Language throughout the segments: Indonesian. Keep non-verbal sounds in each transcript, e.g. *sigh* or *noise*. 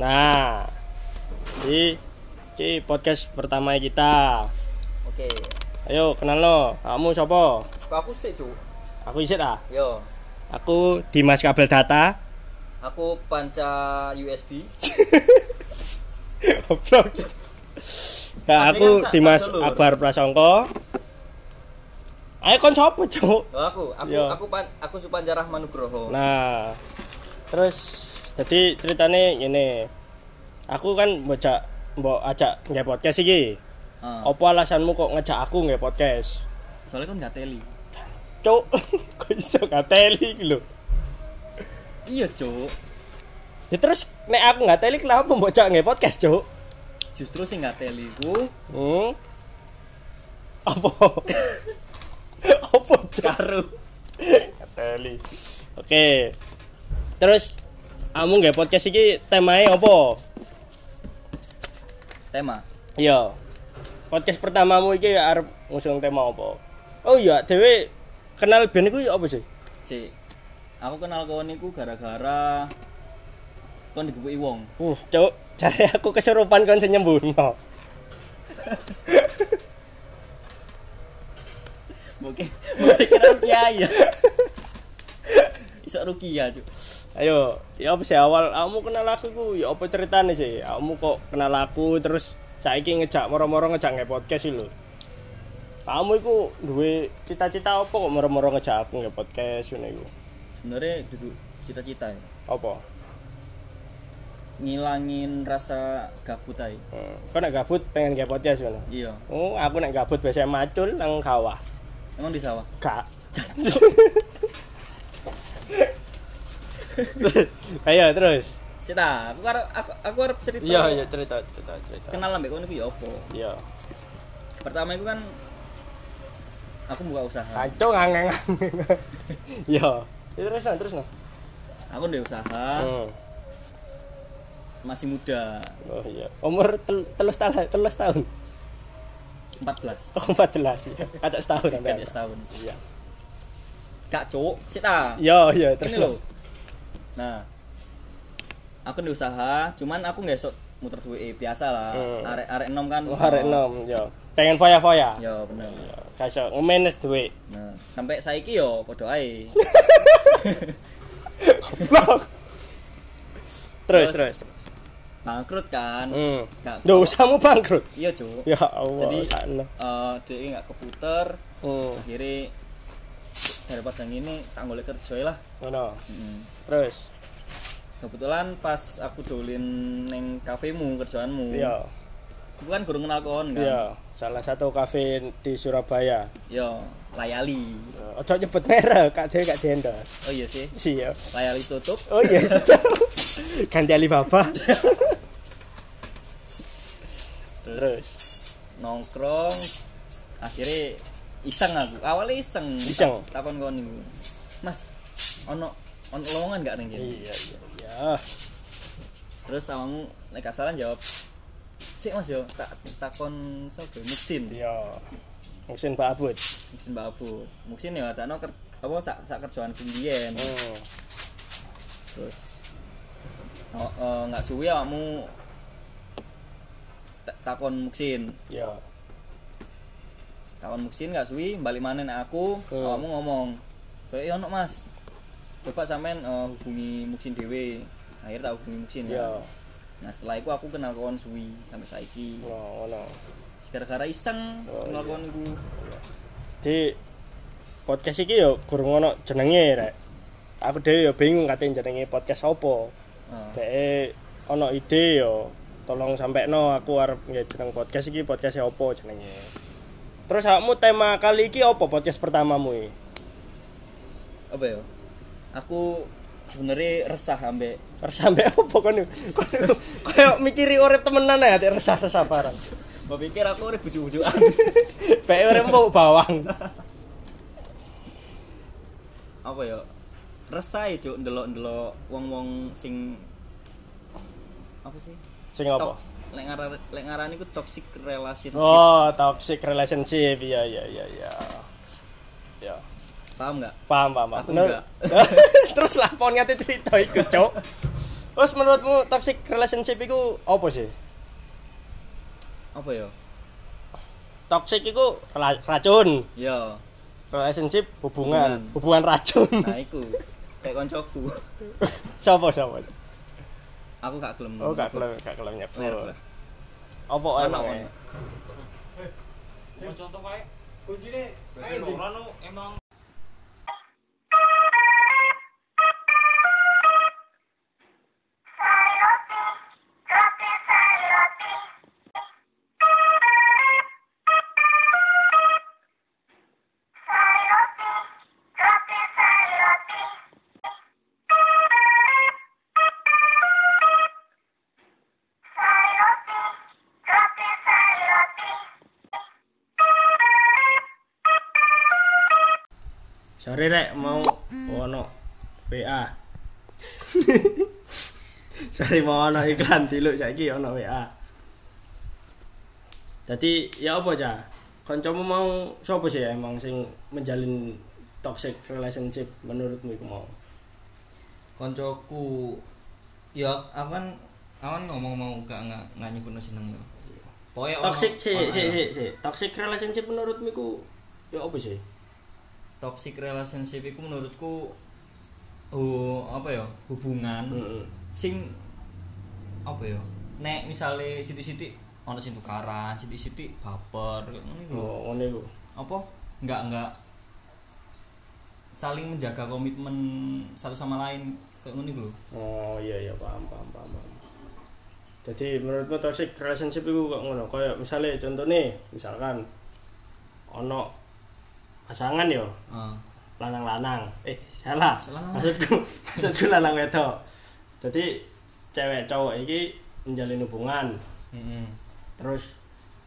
Nah, di di podcast pertama kita. Oke. Ayo kenal lo. Kamu siapa? Kok aku sih, Cuk. Aku Isit ah. Yo. Aku Dimas Kabel Data. *laughs* Aku panca *laughs* USB. Goblok. Nah, aku Tapi kan sa- Dimas satu lur. Akbar Prasangka. Ayo kon siapa, Cuk? Loh, aku, aku Yo. aku pan aku Supanca Rahmanugroho. Nah, terus jadi ceritanya gini. Aku kan bocah mbok ajak nggak podcast iki. Ah, Apa alasanmu kok ngejak aku nggak podcast? soalnya kan gak teli. Cuk, *laughs* kok iso ngateli iki lho. Iya, Cuk. Ya terus nek aku nggak teli kenapa bocah nggak podcast, Cuk? Justru sih gak teli ku Hmm? Apa? *laughs* Apa, Cuk? karo Teli. Oke. Terus kamu nggak podcast iki temanya apa? tema. Iya. Podcast pertamamu iki arep ngusung tema apa? Oh iya, dhewe kenal band iku ya apa sih? Cik. Aku kenal kau niku gara-gara kon digebuki wong. Uh, cuk, cari aku kesurupan kon senyembuno. Oke. Mungkin kira *laughs* kiai ya. Isak rukia, ya, Cuk. Ayo, ya apa sih awal kamu kenal aku ku ya apa ceritanya sih? Kamu kok kenal aku terus saiki ngejak moro-moro ngejak nge podcast iki lho. Kamu iku duwe cita-cita apa kok moro-moro ngejak aku nge podcast ngono iku? Sebenarnya duduk cita-cita ya. Apa? ngilangin rasa gabut ae. Hmm. Kau nek gabut pengen nge podcast ngono. Iya. Oh, aku nek gabut biasanya macul nang kawah. Emang di sawah. Kak. *laughs* Ayo terus. Cita, aku arep aku, aku arep cerita. Iya, cerita cerita cerita. Kenal ambek kono ku ya apa? Iya. Pertama itu kan aku buka usaha. Kacau ngangeng. *laughs* Iya. Ya, Terus nah, terus nah. Aku ndek usaha, Hmm. masih muda, Oh iya. Umur tel telus tahun telus tahun. *laughs* 14. Oh, 14 ya. Kacak setahun Kan nanti. setahun. Iya. Kak Cuk, Cita. Iya iya terus. Ini loh. Nah. Aku ndek usaha, cuman aku nggak sok muter duit biasa lah. Hmm. Arek-arek enom kan. Wah, arek nom yo. Pengen foya-foya. Ya bener. Kacau nge-manage duit. *laughs* Nah, sampai saiki yo padha ae. Terus terus. Terus. Bangkrut kan. Hmm. Gak- Duh, usahamu bangkrut. Iya, Cuk. Ya Allah. Jadi- sakno. eh dia nggak keputer Hmm. akhirnya daripada ngini tak boleh kerja lah Ngono. Terus. kebetulan pas aku dolin neng kafemu kerjaanmu Iya. aku kan gurung kenal kon kan Iya, salah satu kafe di Surabaya. Yo, layali Eh, Ojo nyebut merek, Kak Dewi Kak Denda. oh iya sih Siap. layali tutup Oh iya. *laughs* Ganti Alibaba. terus, Terus nongkrong akhirnya iseng aku awalnya iseng Iseng. Tak- takon kon iku mas ono ono lowongan gak neng kene?" iya iya iya. terus awakmu nek kasaran jawab sik mas yo tak takon sapa mesin Iya. Mesin Pak Abud. Mungkin Mbak Abu. Mungkin ya takno ker apa sak sak kerjaan kumbiyen. Hmm. Terus oh, eh, nggak suwi awakmu ta- takon Muksin. Iya. Takon Muksin nggak suwi balik manen aku, Hmm. awakmu ngomong. Kayak "Eh, ono Mas. Coba sampean eh, hubungi Muksin dhewe. Akhir tak hubungi Muksin Iya. ya. Nah setelah itu aku kenal kawan suwi sampai saiki. Ngono ngono. Gara-gara iseng Oh, iya. kenal kawan iku. Di podcast iki yo kurang ono jenenge rek. Aku dhewe yo bingung katanya jenenge podcast opo. Eh, Dek ono ide yo tolong sampekno aku arep nggih jeneng podcast iki podcast opo jenenge. Terus kamu tema kali iki opo podcast pertamamu iki? apa ya? Aku sebenarnya resah ambek Resah mbek opo kon iki? kon iki koyo mikiri urip temenan ya dek resah-resah parah. Mbak pikir aku udah bujuk-bujukan *laughs* Bae urip mau bawang. Apa ya? Resah ya cuk, ndelok-ndelok wong-wong sing Apa sih? Sing opo? Toks, lek ngaran lek ngarani ku toxic relationship. Oh, toxic relationship. Iya iya iya iya. Ya. Paham nggak? Paham paham. paham. Aku Bener. *laughs* enggak. Terus lah pon ngate cerita iku, Cok. Terus menurutmu toxic relationship itu apa sih? apa ya Toxic itu ra- racun. ya Relationship hubungan, Hubungan. hubungan racun. nah iku kayak koncoku *laughs* Siapa siapa? aku gak gelem Oh, gak Oh. kelam, gak kelam nyebut. Merek lah. Apa Ono, emang? ono. contoh kayak kuncinya kayak orang nu emang Sore rek mau ono WA. Sore mau ono iklan diluk saiki ono WA. Jadi ya apa cah? Kancamu mau sopo sih emang sing menjalin toxic relationship menurutmu iku mau? koncoku ya aku kan aku kan ngomong mau gak nggak nggak nyebut seneng ya Pokoknya orang- Toxic sih, orang- sih, sih, sih. Toxic relationship menurutmu iku ya apa sih? toxic relationship itu menurutku oh apa ya hubungan Heeh. sing apa ya nek misalnya sitik-sitik ono sing tukaran sitik-sitik baper kayak ngono iku lho. Oh, ngene iku. apa nggak nggak saling menjaga komitmen satu sama lain kayak ngono iku lho. Oh iya iya paham paham paham. paham. Jadi menurutmu toxic relationship itu kok ngono? Kayak misalnya contohnya misalkan ono pasangan yo Ah. lanang-lanang. Eh salah. Salah. Maksudku *laughs* maksudku lanang wedok. Jadi cewek cowok ini menjalin hubungan Mm-mm. terus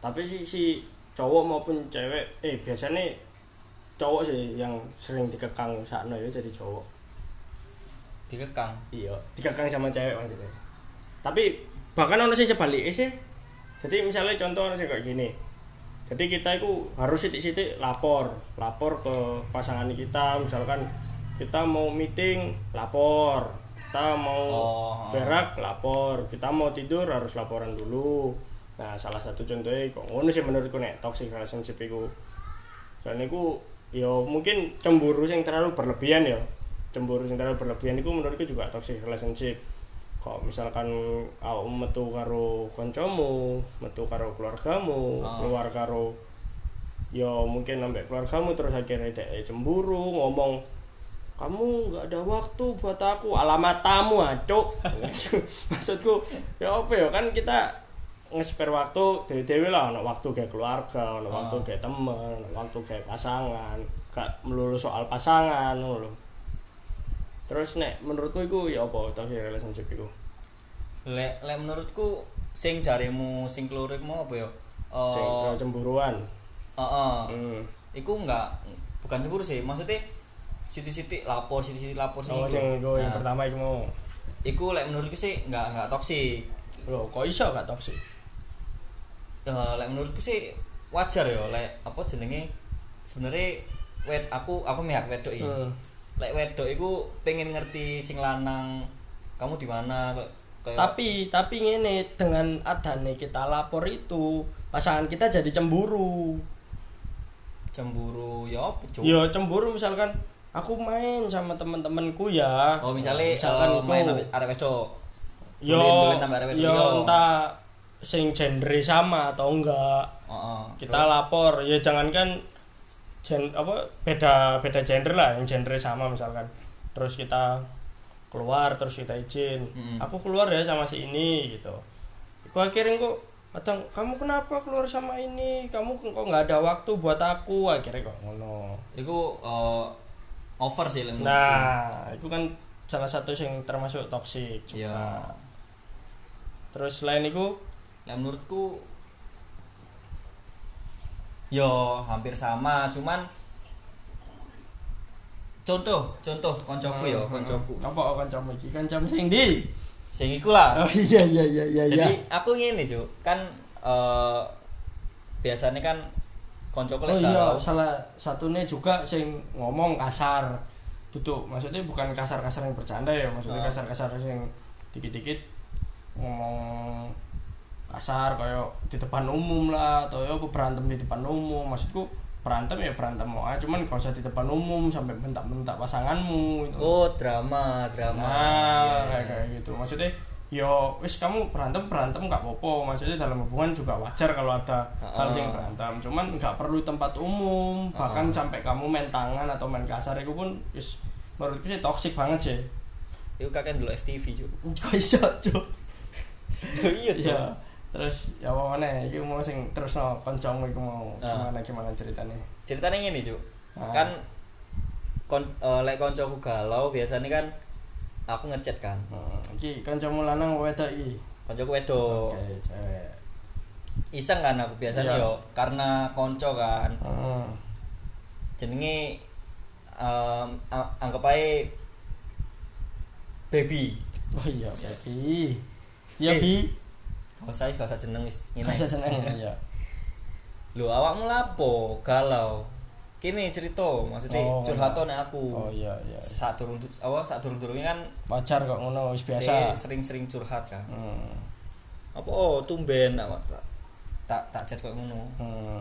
tapi si si cowok maupun cewek eh biasanya cowok sih yang sering dikekang sakno ya jadi cowok dikekang iya dikekang sama cewek maksudnya tapi bahkan ono sing sebaliknya sih jadi misalnya contoh ono sing kayak gini jadi kita itu harus sitik-sitik lapor lapor ke pasangan kita misalkan kita mau meeting lapor kita mau Oh. berak lapor kita mau tidur harus laporan dulu nah salah satu contohnya kok ngono sih menurutku nek toxic relationship iku soalnya iku ya mungkin cemburu yang terlalu berlebihan ya cemburu yang terlalu berlebihan itu menurutku juga toxic relationship kok misalkan awakmu metu karo koncomu metu karo keluargamu Ah. keluar karo ya mungkin ambek keluargamu terus akhirnya dek cemburu ngomong kamu nggak ada waktu buat aku alamat tamu acok *laughs* maksudku ya apa ya kan kita nge-spare waktu dewi dewi lah anak waktu kayak keluarga anak Ah. waktu kayak temen anak waktu kayak pasangan gak melulu soal pasangan ngono lho. terus nek menurutku itu ya apa toxic relationship itu lek lek menurutku sing jaremu sing klurikmu apa ya Ceng- Eh, cemburuan heeh. hmm. iku enggak bukan cemburu sih maksudnya sitik-sitik lapor sitik-sitik lapor sing Oh, iku. sing iku yang Nah, pertama itu mau iku lek menurutku sih enggak enggak toksik Loh, kok iso gak toxic Eh, lek menurutku sih wajar ya lek apa jenenge sebenarnya wed aku aku mihak wedok iki. Hmm. Lek wedok iku pengen ngerti sing lanang kamu di mana kok kayak tapi tapi ngene dengan adanya kita lapor itu pasangan kita jadi cemburu cemburu ya apa Cuk? Yo cemburu misalkan aku main sama temen-temenku ya Oh misalnya misalkan eh, iku, main ambil arek wedok. yo duit-duit nambah ya. arek wedok, yo yo. ya, entah sing genre sama atau enggak Heeh. kita lapor ya jangankan gen apa beda beda gender lah yang genre sama misalkan terus kita keluar terus kita izin Mm-mm. aku keluar ya sama si ini gitu aku akhirnya kok kadang kamu kenapa keluar sama ini kamu kok nggak ada waktu buat aku akhirnya kok ngono Iku eh, over sih lek menurutku. nah itu kan salah satu yang termasuk toksik juga Ya. terus selain itu Lek menurutku yo hampir sama cuman contoh contoh koncoku ya, Ah, yo koncoku apa kan jam iki kan jam sing di sing iku lah iya iya iya iya jadi aku ngene cuk kan eh, biasanya kan koncoku Oh lek iya, galau. salah satunya juga sing ngomong kasar. Duduk, maksudnya bukan kasar-kasar yang bercanda ya, maksudnya Ah. kasar-kasar yang dikit-dikit ngomong kasar kayak di depan umum lah atau ya apa berantem di depan umum maksudku berantem ya berantem mau aja cuman gak usah di depan umum sampai bentak-bentak pasanganmu gitu. Oh, drama, drama. Nah, Iya. kayak kayak gitu. Maksudnya yo wis kamu berantem berantem nggak apa-apa. Maksudnya dalam hubungan juga wajar kalau ada hal sing berantem. Cuman nggak perlu tempat umum, bahkan sampai kamu main tangan atau main kasar itu pun wis menurutku sih toksik banget sih. Itu kakek dulu FTV, Cuk. *laughs* Kok iso, Cuk? Iya, Cuk. Iya. Terus ya apa meneh iki mau sing terus no kancamu iku mau Ah. gimana gimana ceritanya. Ceritanya ngene, Cuk. Ah. Kan kon eh, lek koncoku galau biasanya kan aku ngechat kan. Hmm, iki kancamu lanang apa wedok iki? Koncoku wedok. Oke, cewek. Iseng kan aku biasanya Iya. yo karena konco kan. Hmm. jenenge um, a- anggap ae baby. Oh iya, Bi. Iya, Eh, Bi. Gak usah, wis, gak usah seneng wis. Ngene. Kasih *laughs* seneng ya. Iya. Lho awakmu lapo galau. Kini cerita, maksudnya Oh, curhat iya. nek aku. Oh iya iya. Saat turun tu- awal saat turun turunnya kan Wajar kok ngono wis dia biasa. sering-sering curhat kan. Hmm. Apa oh tumben awak tak tak tak chat koyo ngono. Hmm.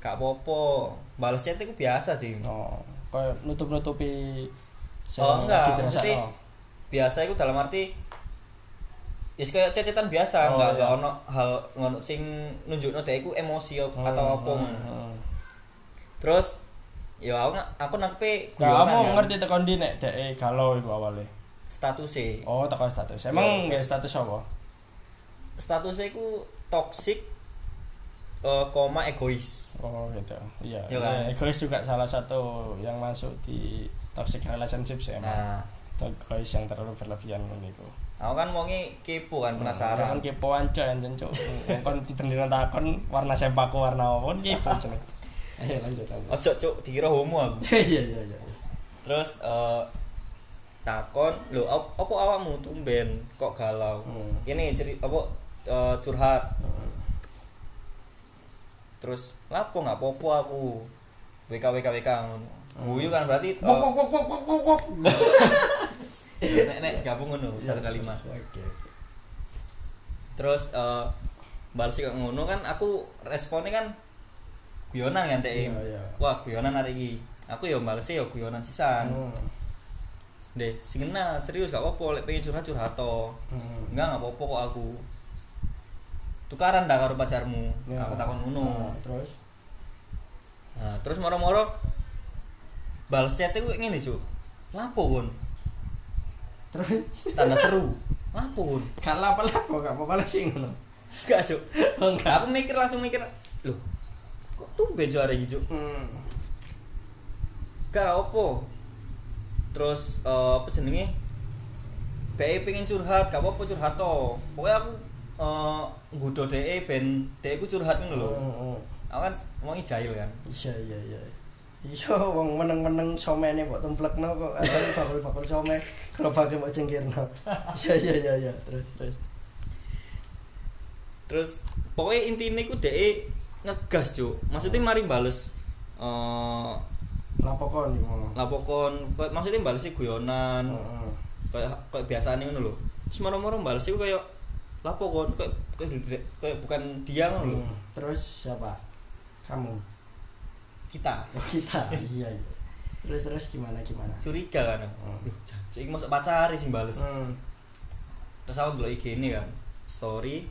Gak apa-apa. Balas chat itu biasa deh. Oh, kayak nutup-nutupi sing Oh, lagi enggak, dirasakno. maksudnya- biasa itu dalam arti Yes kayak cecetan biasa, Oh, nggak nggak iya. ono hal ngono sing nunjukno dhek iku emosi op- Hmm, atau apa. hmm, hmm. ngono. Terus ya aku na- aku nangpe Kamu kan. ngerti tekan di nek dek galau iku awale. statusnya Oh, tekan status. Emang Iya, nggak status apa? Statusnya iku toxic eh, koma egois. Oh, gitu. Iya. Iya kan? Iya, egois juga salah satu yang masuk di toxic relationship sih emang. Nah, Egois yang terlalu berlebihan ngono iku. aku kan wonge kepo kan Kan penasaran. kepo anca anjen cuk. Wong kon bendina takon warna sempaku warna apa kepo jeneng. Ayo lanjut lanjut. Ojo cuk dikira homo aku. *laughs* Iya iya iya. Terus eh, takon lho op- apa awakmu tumben kok galau. Hmm. Ini ceri apa eh, curhat terus lapo nggak popo aku WK WK WK ngono. Hmm. guyu kan berarti uh, *laughs* Iya, nek nek gabung ngono satu kali mas Oke. terus uh, balas kok ngono kan aku responnya kan guyonan kan Iya, dek iya. wah guyonan hari ini aku ya balesnya ya guyonan sisan Hmm. deh singena serius gak apa-apa lek pengen curhat curhat to Hmm. enggak nggak apa-apa kok aku tukaran dah karo pacarmu Ya. aku takon Nah, ngono terus Nah, terus moro-moro balas chat gue ngene, Cuk. Lapo kon? terus *laughs* Tanda seru. Lapo kon? gak lapo-lapo gak apa-apa lah sih ngono. Enggak, Cuk. Oh, enggak. Aku mikir langsung mikir, loh. Kok tumben Jo hari iki, Cuk? Hmm. Gak opo. Terus eh, apa jenenge? Be pengen curhat, gak apa-apa curhat to. Pokoknya aku eh nggudo dhek ben dhek ku curhat ngono lho. Oh, oh. Aku kan wong jahil kan. Iya iya iya. Iya, wong meneng-meneng somene mbok templekno kok ada bakul-bakul some gerobake mbok jengkirno. *laughs* Iya iya iya iya, terus terus. terus pokoknya intinya ku deh e ngegas cuk maksudnya mari bales eh Lapo kon iki ngono. lapokon Kayak- maksudnya balesnya guyonan Heeh. kayak kayak biasa nih ngono lho terus moro-moro balesnya ku kayak lapokon kayak kayak, duduk- kayak bukan dia ngono lho Hmm, Terus siapa? Kamu. *laughs* kita Oh, kita. iya, iya. Terus terus gimana gimana? curiga kan aku. Hmm. Duh, cuk ini masuk pacar sih bales Hmm. terus aku dulu IG ini kan story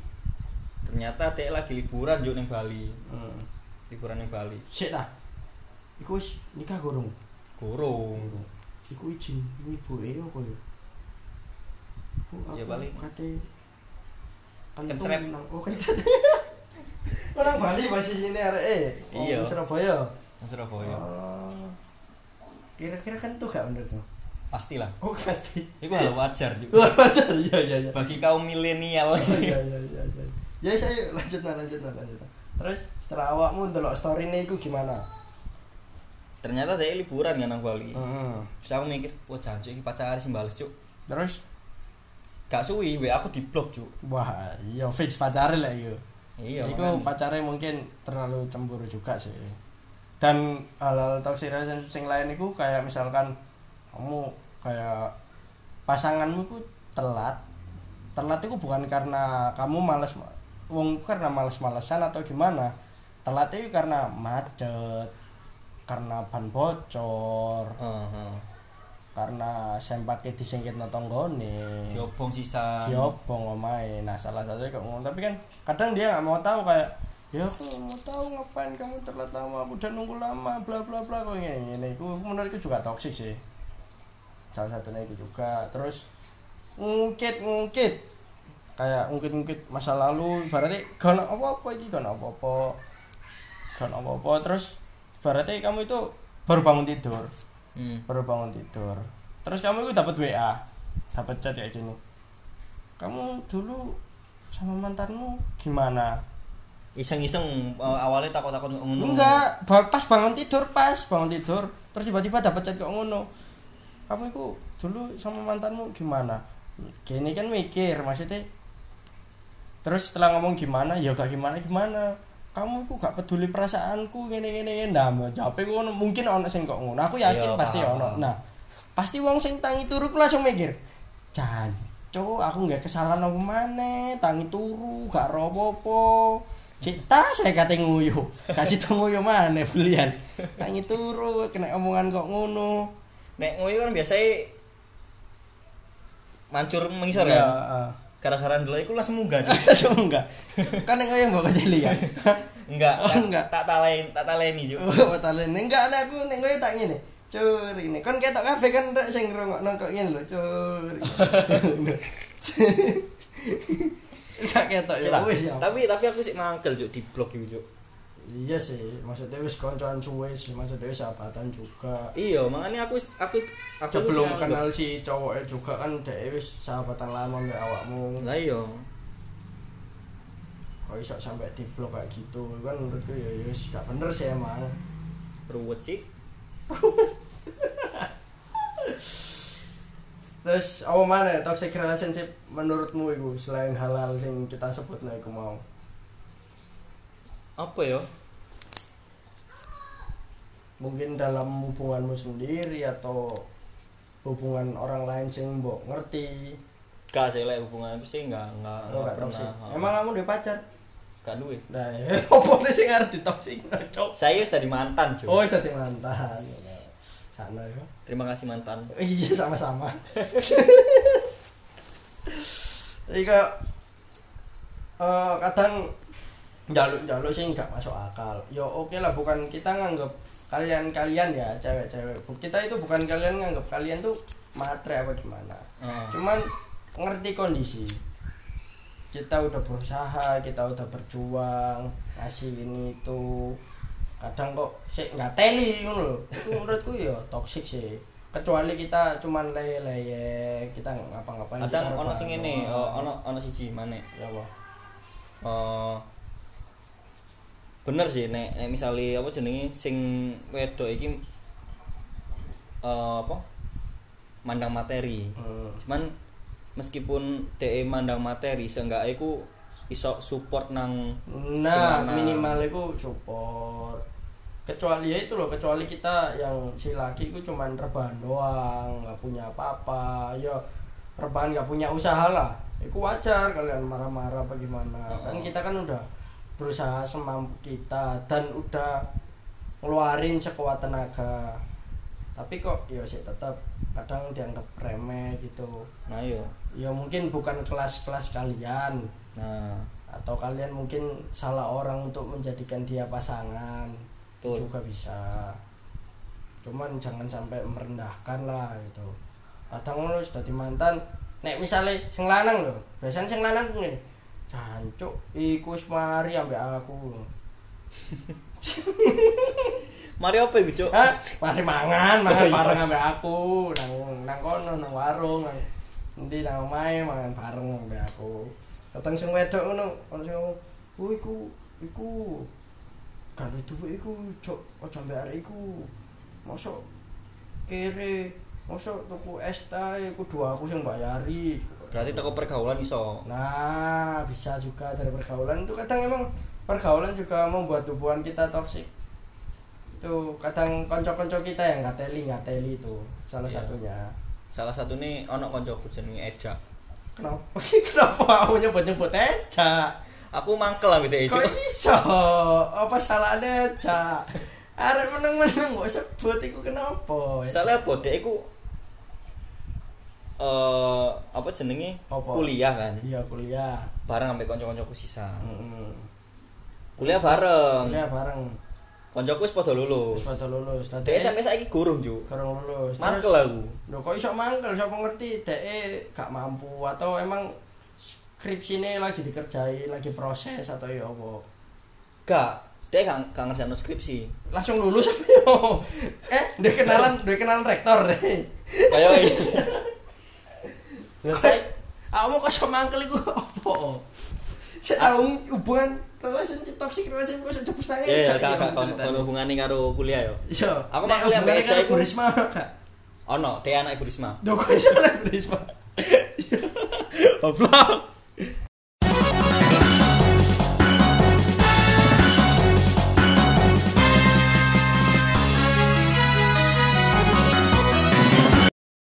ternyata dek lagi liburan juk neng Bali Hmm. liburan neng Bali Sik dah. Iku wis nikah gorong. gorong Iku izin ini boe apa ya? Oh, Ya, aku Bali. Kate kentung Kencret. nang oh *laughs* kencret. Orang Bali masih ini arek e. Iya. Surabaya. Nang Surabaya Oh. Kira-kira kentuh gak menurutmu? pastilah Oh, pasti. itu hal wajar *laughs* juga Luar pacar. Iya iya iya. bagi kaum milenial iya iya iya iya ya saya lanjut nah lanjut nah lanjut nah. terus setelah awakmu ndelok story ini itu gimana *laughs* ternyata saya liburan kan nang Bali Heeh. terus aku mikir wah jancuk ini pacar sih bales cuk terus gak suwi we aku di blok cuk wah iya fix pacarnya lah itu iya itu makanya. pacarnya mungkin terlalu cemburu juga sih dan hal-hal toxic relationship yang lain itu kayak misalkan kamu kayak pasanganmu itu telat telat itu bukan karena kamu malas wong itu karena males-malesan atau gimana telat itu karena macet karena ban bocor Heeh. karena sempake disingkit tonggone Diobong sisa. Iya, diobong omae nah salah satunya kok ngomong tapi kan kadang dia nggak mau tahu kayak ya aku nggak mau tahu ngapain kamu telat lama aku udah nunggu lama bla bla bla kok ini ini aku menurutku juga toksik sih salah satunya itu juga terus ngungkit ngungkit kayak ngungkit ngungkit masa lalu berarti gak apa apa ini gak apa apa gak apa apa terus berarti kamu itu baru bangun tidur Hmm. baru bangun tidur terus kamu itu dapat WA dapat chat kayak gini kamu dulu sama mantanmu gimana Iseng-iseng eh, awalnya takut-takut ngono. enggak ba- pas bangun tidur pas bangun tidur terus tiba-tiba dapat chat kok ngono kamu itu dulu sama mantanmu gimana gini kan mikir maksudnya terus setelah ngomong gimana ya gak gimana gimana kamu itu gak peduli perasaanku gini gini gini nah mau jawab aku ngono. mungkin ono sing kok ngono aku yakin Iya, pasti paham, ono paham. nah pasti wong sing tangi turu ku langsung mikir jancu aku gak kesalahan apa maneh tangi turu gak robopo cita saya kate nguyu *laughs* kasih tau nguyu maneh belian tangi turu kena omongan kok ngono Nek ngoyo kan biasanya mancur mengisor ya kan. Gara-gara dulu iku langsung munggah. *laughs* *laughs* cuy. langsung enggak kan yang yang bawa kecil ya Enggak, Oh, tak- enggak. tak talain, tak taleni juga. oh talen enggak lah aku neng gue tak ngene cur ini kan ketok kafe kan rek sing ngrungokno kok ngene lho cur enggak ketok ya wis ya Tapi tapi aku sih mangkel juk di blog iku juk. iya sih maksudnya wis koncoan suwe sih maksudnya wis sahabatan juga Iya, makanya aku s- aku aku sebelum sih kenal si cowoknya juga kan dia wis sahabatan lama mbak awakmu Lah iya. kok iso sampai di blok kayak gitu kan menurutku ya ya wis gak bener sih emang Ruwet sih. terus apa mana toxic relationship menurutmu itu selain halal sing kita sebut nah iku mau Apa ya? mungkin dalam hubunganmu sendiri atau hubungan orang lain sing mbok ngerti Gak sih lek hubungan aku sih enggak enggak oh, gak toxic Ha. emang kamu udah pacar gak duwe. nah ya *laughs* apa nih sing harus di toxic Saya wis dari mantan, oh cuy. itu tadi mantan sana ya Terima kasih mantan. iya sama-sama jadi kayak eh, kadang jaluk-jaluk sih nggak masuk akal ya oke lah bukan kita nganggep kalian-kalian ya cewek-cewek Bu- kita itu bukan kalian nganggep kalian tuh matre apa gimana Heeh. cuman ngerti kondisi kita udah berusaha kita udah berjuang ngasih ini itu kadang kok sih nggak teli ngono lho itu menurutku ya toksik sih kecuali kita cuman leye-leye kita nggak ngapa-ngapain kita Kadang ono rebahan sing ngene, eh, doang. ono ono siji maneh. ya apa Eh, bener sih nek, nek misalnya apa jenenge sing wedok iki eh, apa mandang materi Hmm. cuman meskipun DE mandang materi seenggaknya iku iso support nang nah semangat. minimal itu support kecuali ya itu loh kecuali kita yang si laki itu cuman rebahan doang nggak punya apa-apa ya rebahan nggak punya usaha lah itu wajar kalian marah-marah apa gimana kan kita kan udah berusaha semampu kita dan udah ngeluarin sekuat tenaga tapi kok ya sih tetap kadang dianggap remeh gitu nah yo ya mungkin bukan kelas-kelas kalian nah atau kalian mungkin salah orang untuk menjadikan dia pasangan itu Betul. juga bisa cuman jangan sampai merendahkan lah gitu kadang lu sudah di mantan nek misalnya sing lanang loh biasanya sing lanang ngene jancuk iku wis mari ambek aku mari apa iku cuk Hah? mari mangan mangan Oh, iya. bareng ambek aku nang nang kono nang warung nang nanti nang omahe mangan bareng ambek aku datang sing wedok ngono ono sing ngomong "Ku iku iku gawe duwe iku cok aja ambek arek iku mosok kere mosok tuku es tae kudu aku sing bayari berarti teko pergaulan iso Nah, bisa juga dari pergaulan itu kadang emang pergaulan juga membuat hubungan kita toksik. Itu kadang konco-konco kita yang nggak teli nggak teli itu salah Iya. satunya. salah satu nih ono koncoku jenenge Eja Kenapa? *laughs* Kenapa aku nyebut-nyebut eca? Aku mangkel lah gitu *laughs* Kok iya? iso? Apa salahnya eca? Arek meneng-meneng kok sebut iku kenapa? Eca? Soalnya apa dek iku eh apa jenenge Apa? kuliah kan Iya kuliah. bareng ambek kanca-kancaku sisa. Heeh. Kuliah bareng. Kuliah bareng. Kancaku wis padha lulus. Wis padha lulus. Dadi Dek sampe saiki gurung, Cuk. kurang lulus. Terus- Mangkel aku. Lho kok iso mangkel sapa ngerti deke gak mampu atau emang skripsine lagi dikerjain, lagi proses atau ya apa. Gak, dek gak gak ngerjain skripsi. *laughs* Langsung lulus apa yo? *laughs* Eh, duwe kenalan, duwe kenalan rektor *laughs* deh. Kayak i- Lah saiki Kamu kok iso mangkel iku *laughs* apa? Saya tahu hubungan relationship toxic relationship kok iso jebus nang ya ya ejek gak gak iki. kon kon hubungane karo kuliah yo. Iya. Nek Aku mangkel ambek hubungannya Eca karo iku. Bu Risma Kak. Ono, dek anak Ibu Risma. *laughs* Lho kok iso lah Bu Risma. Goblok.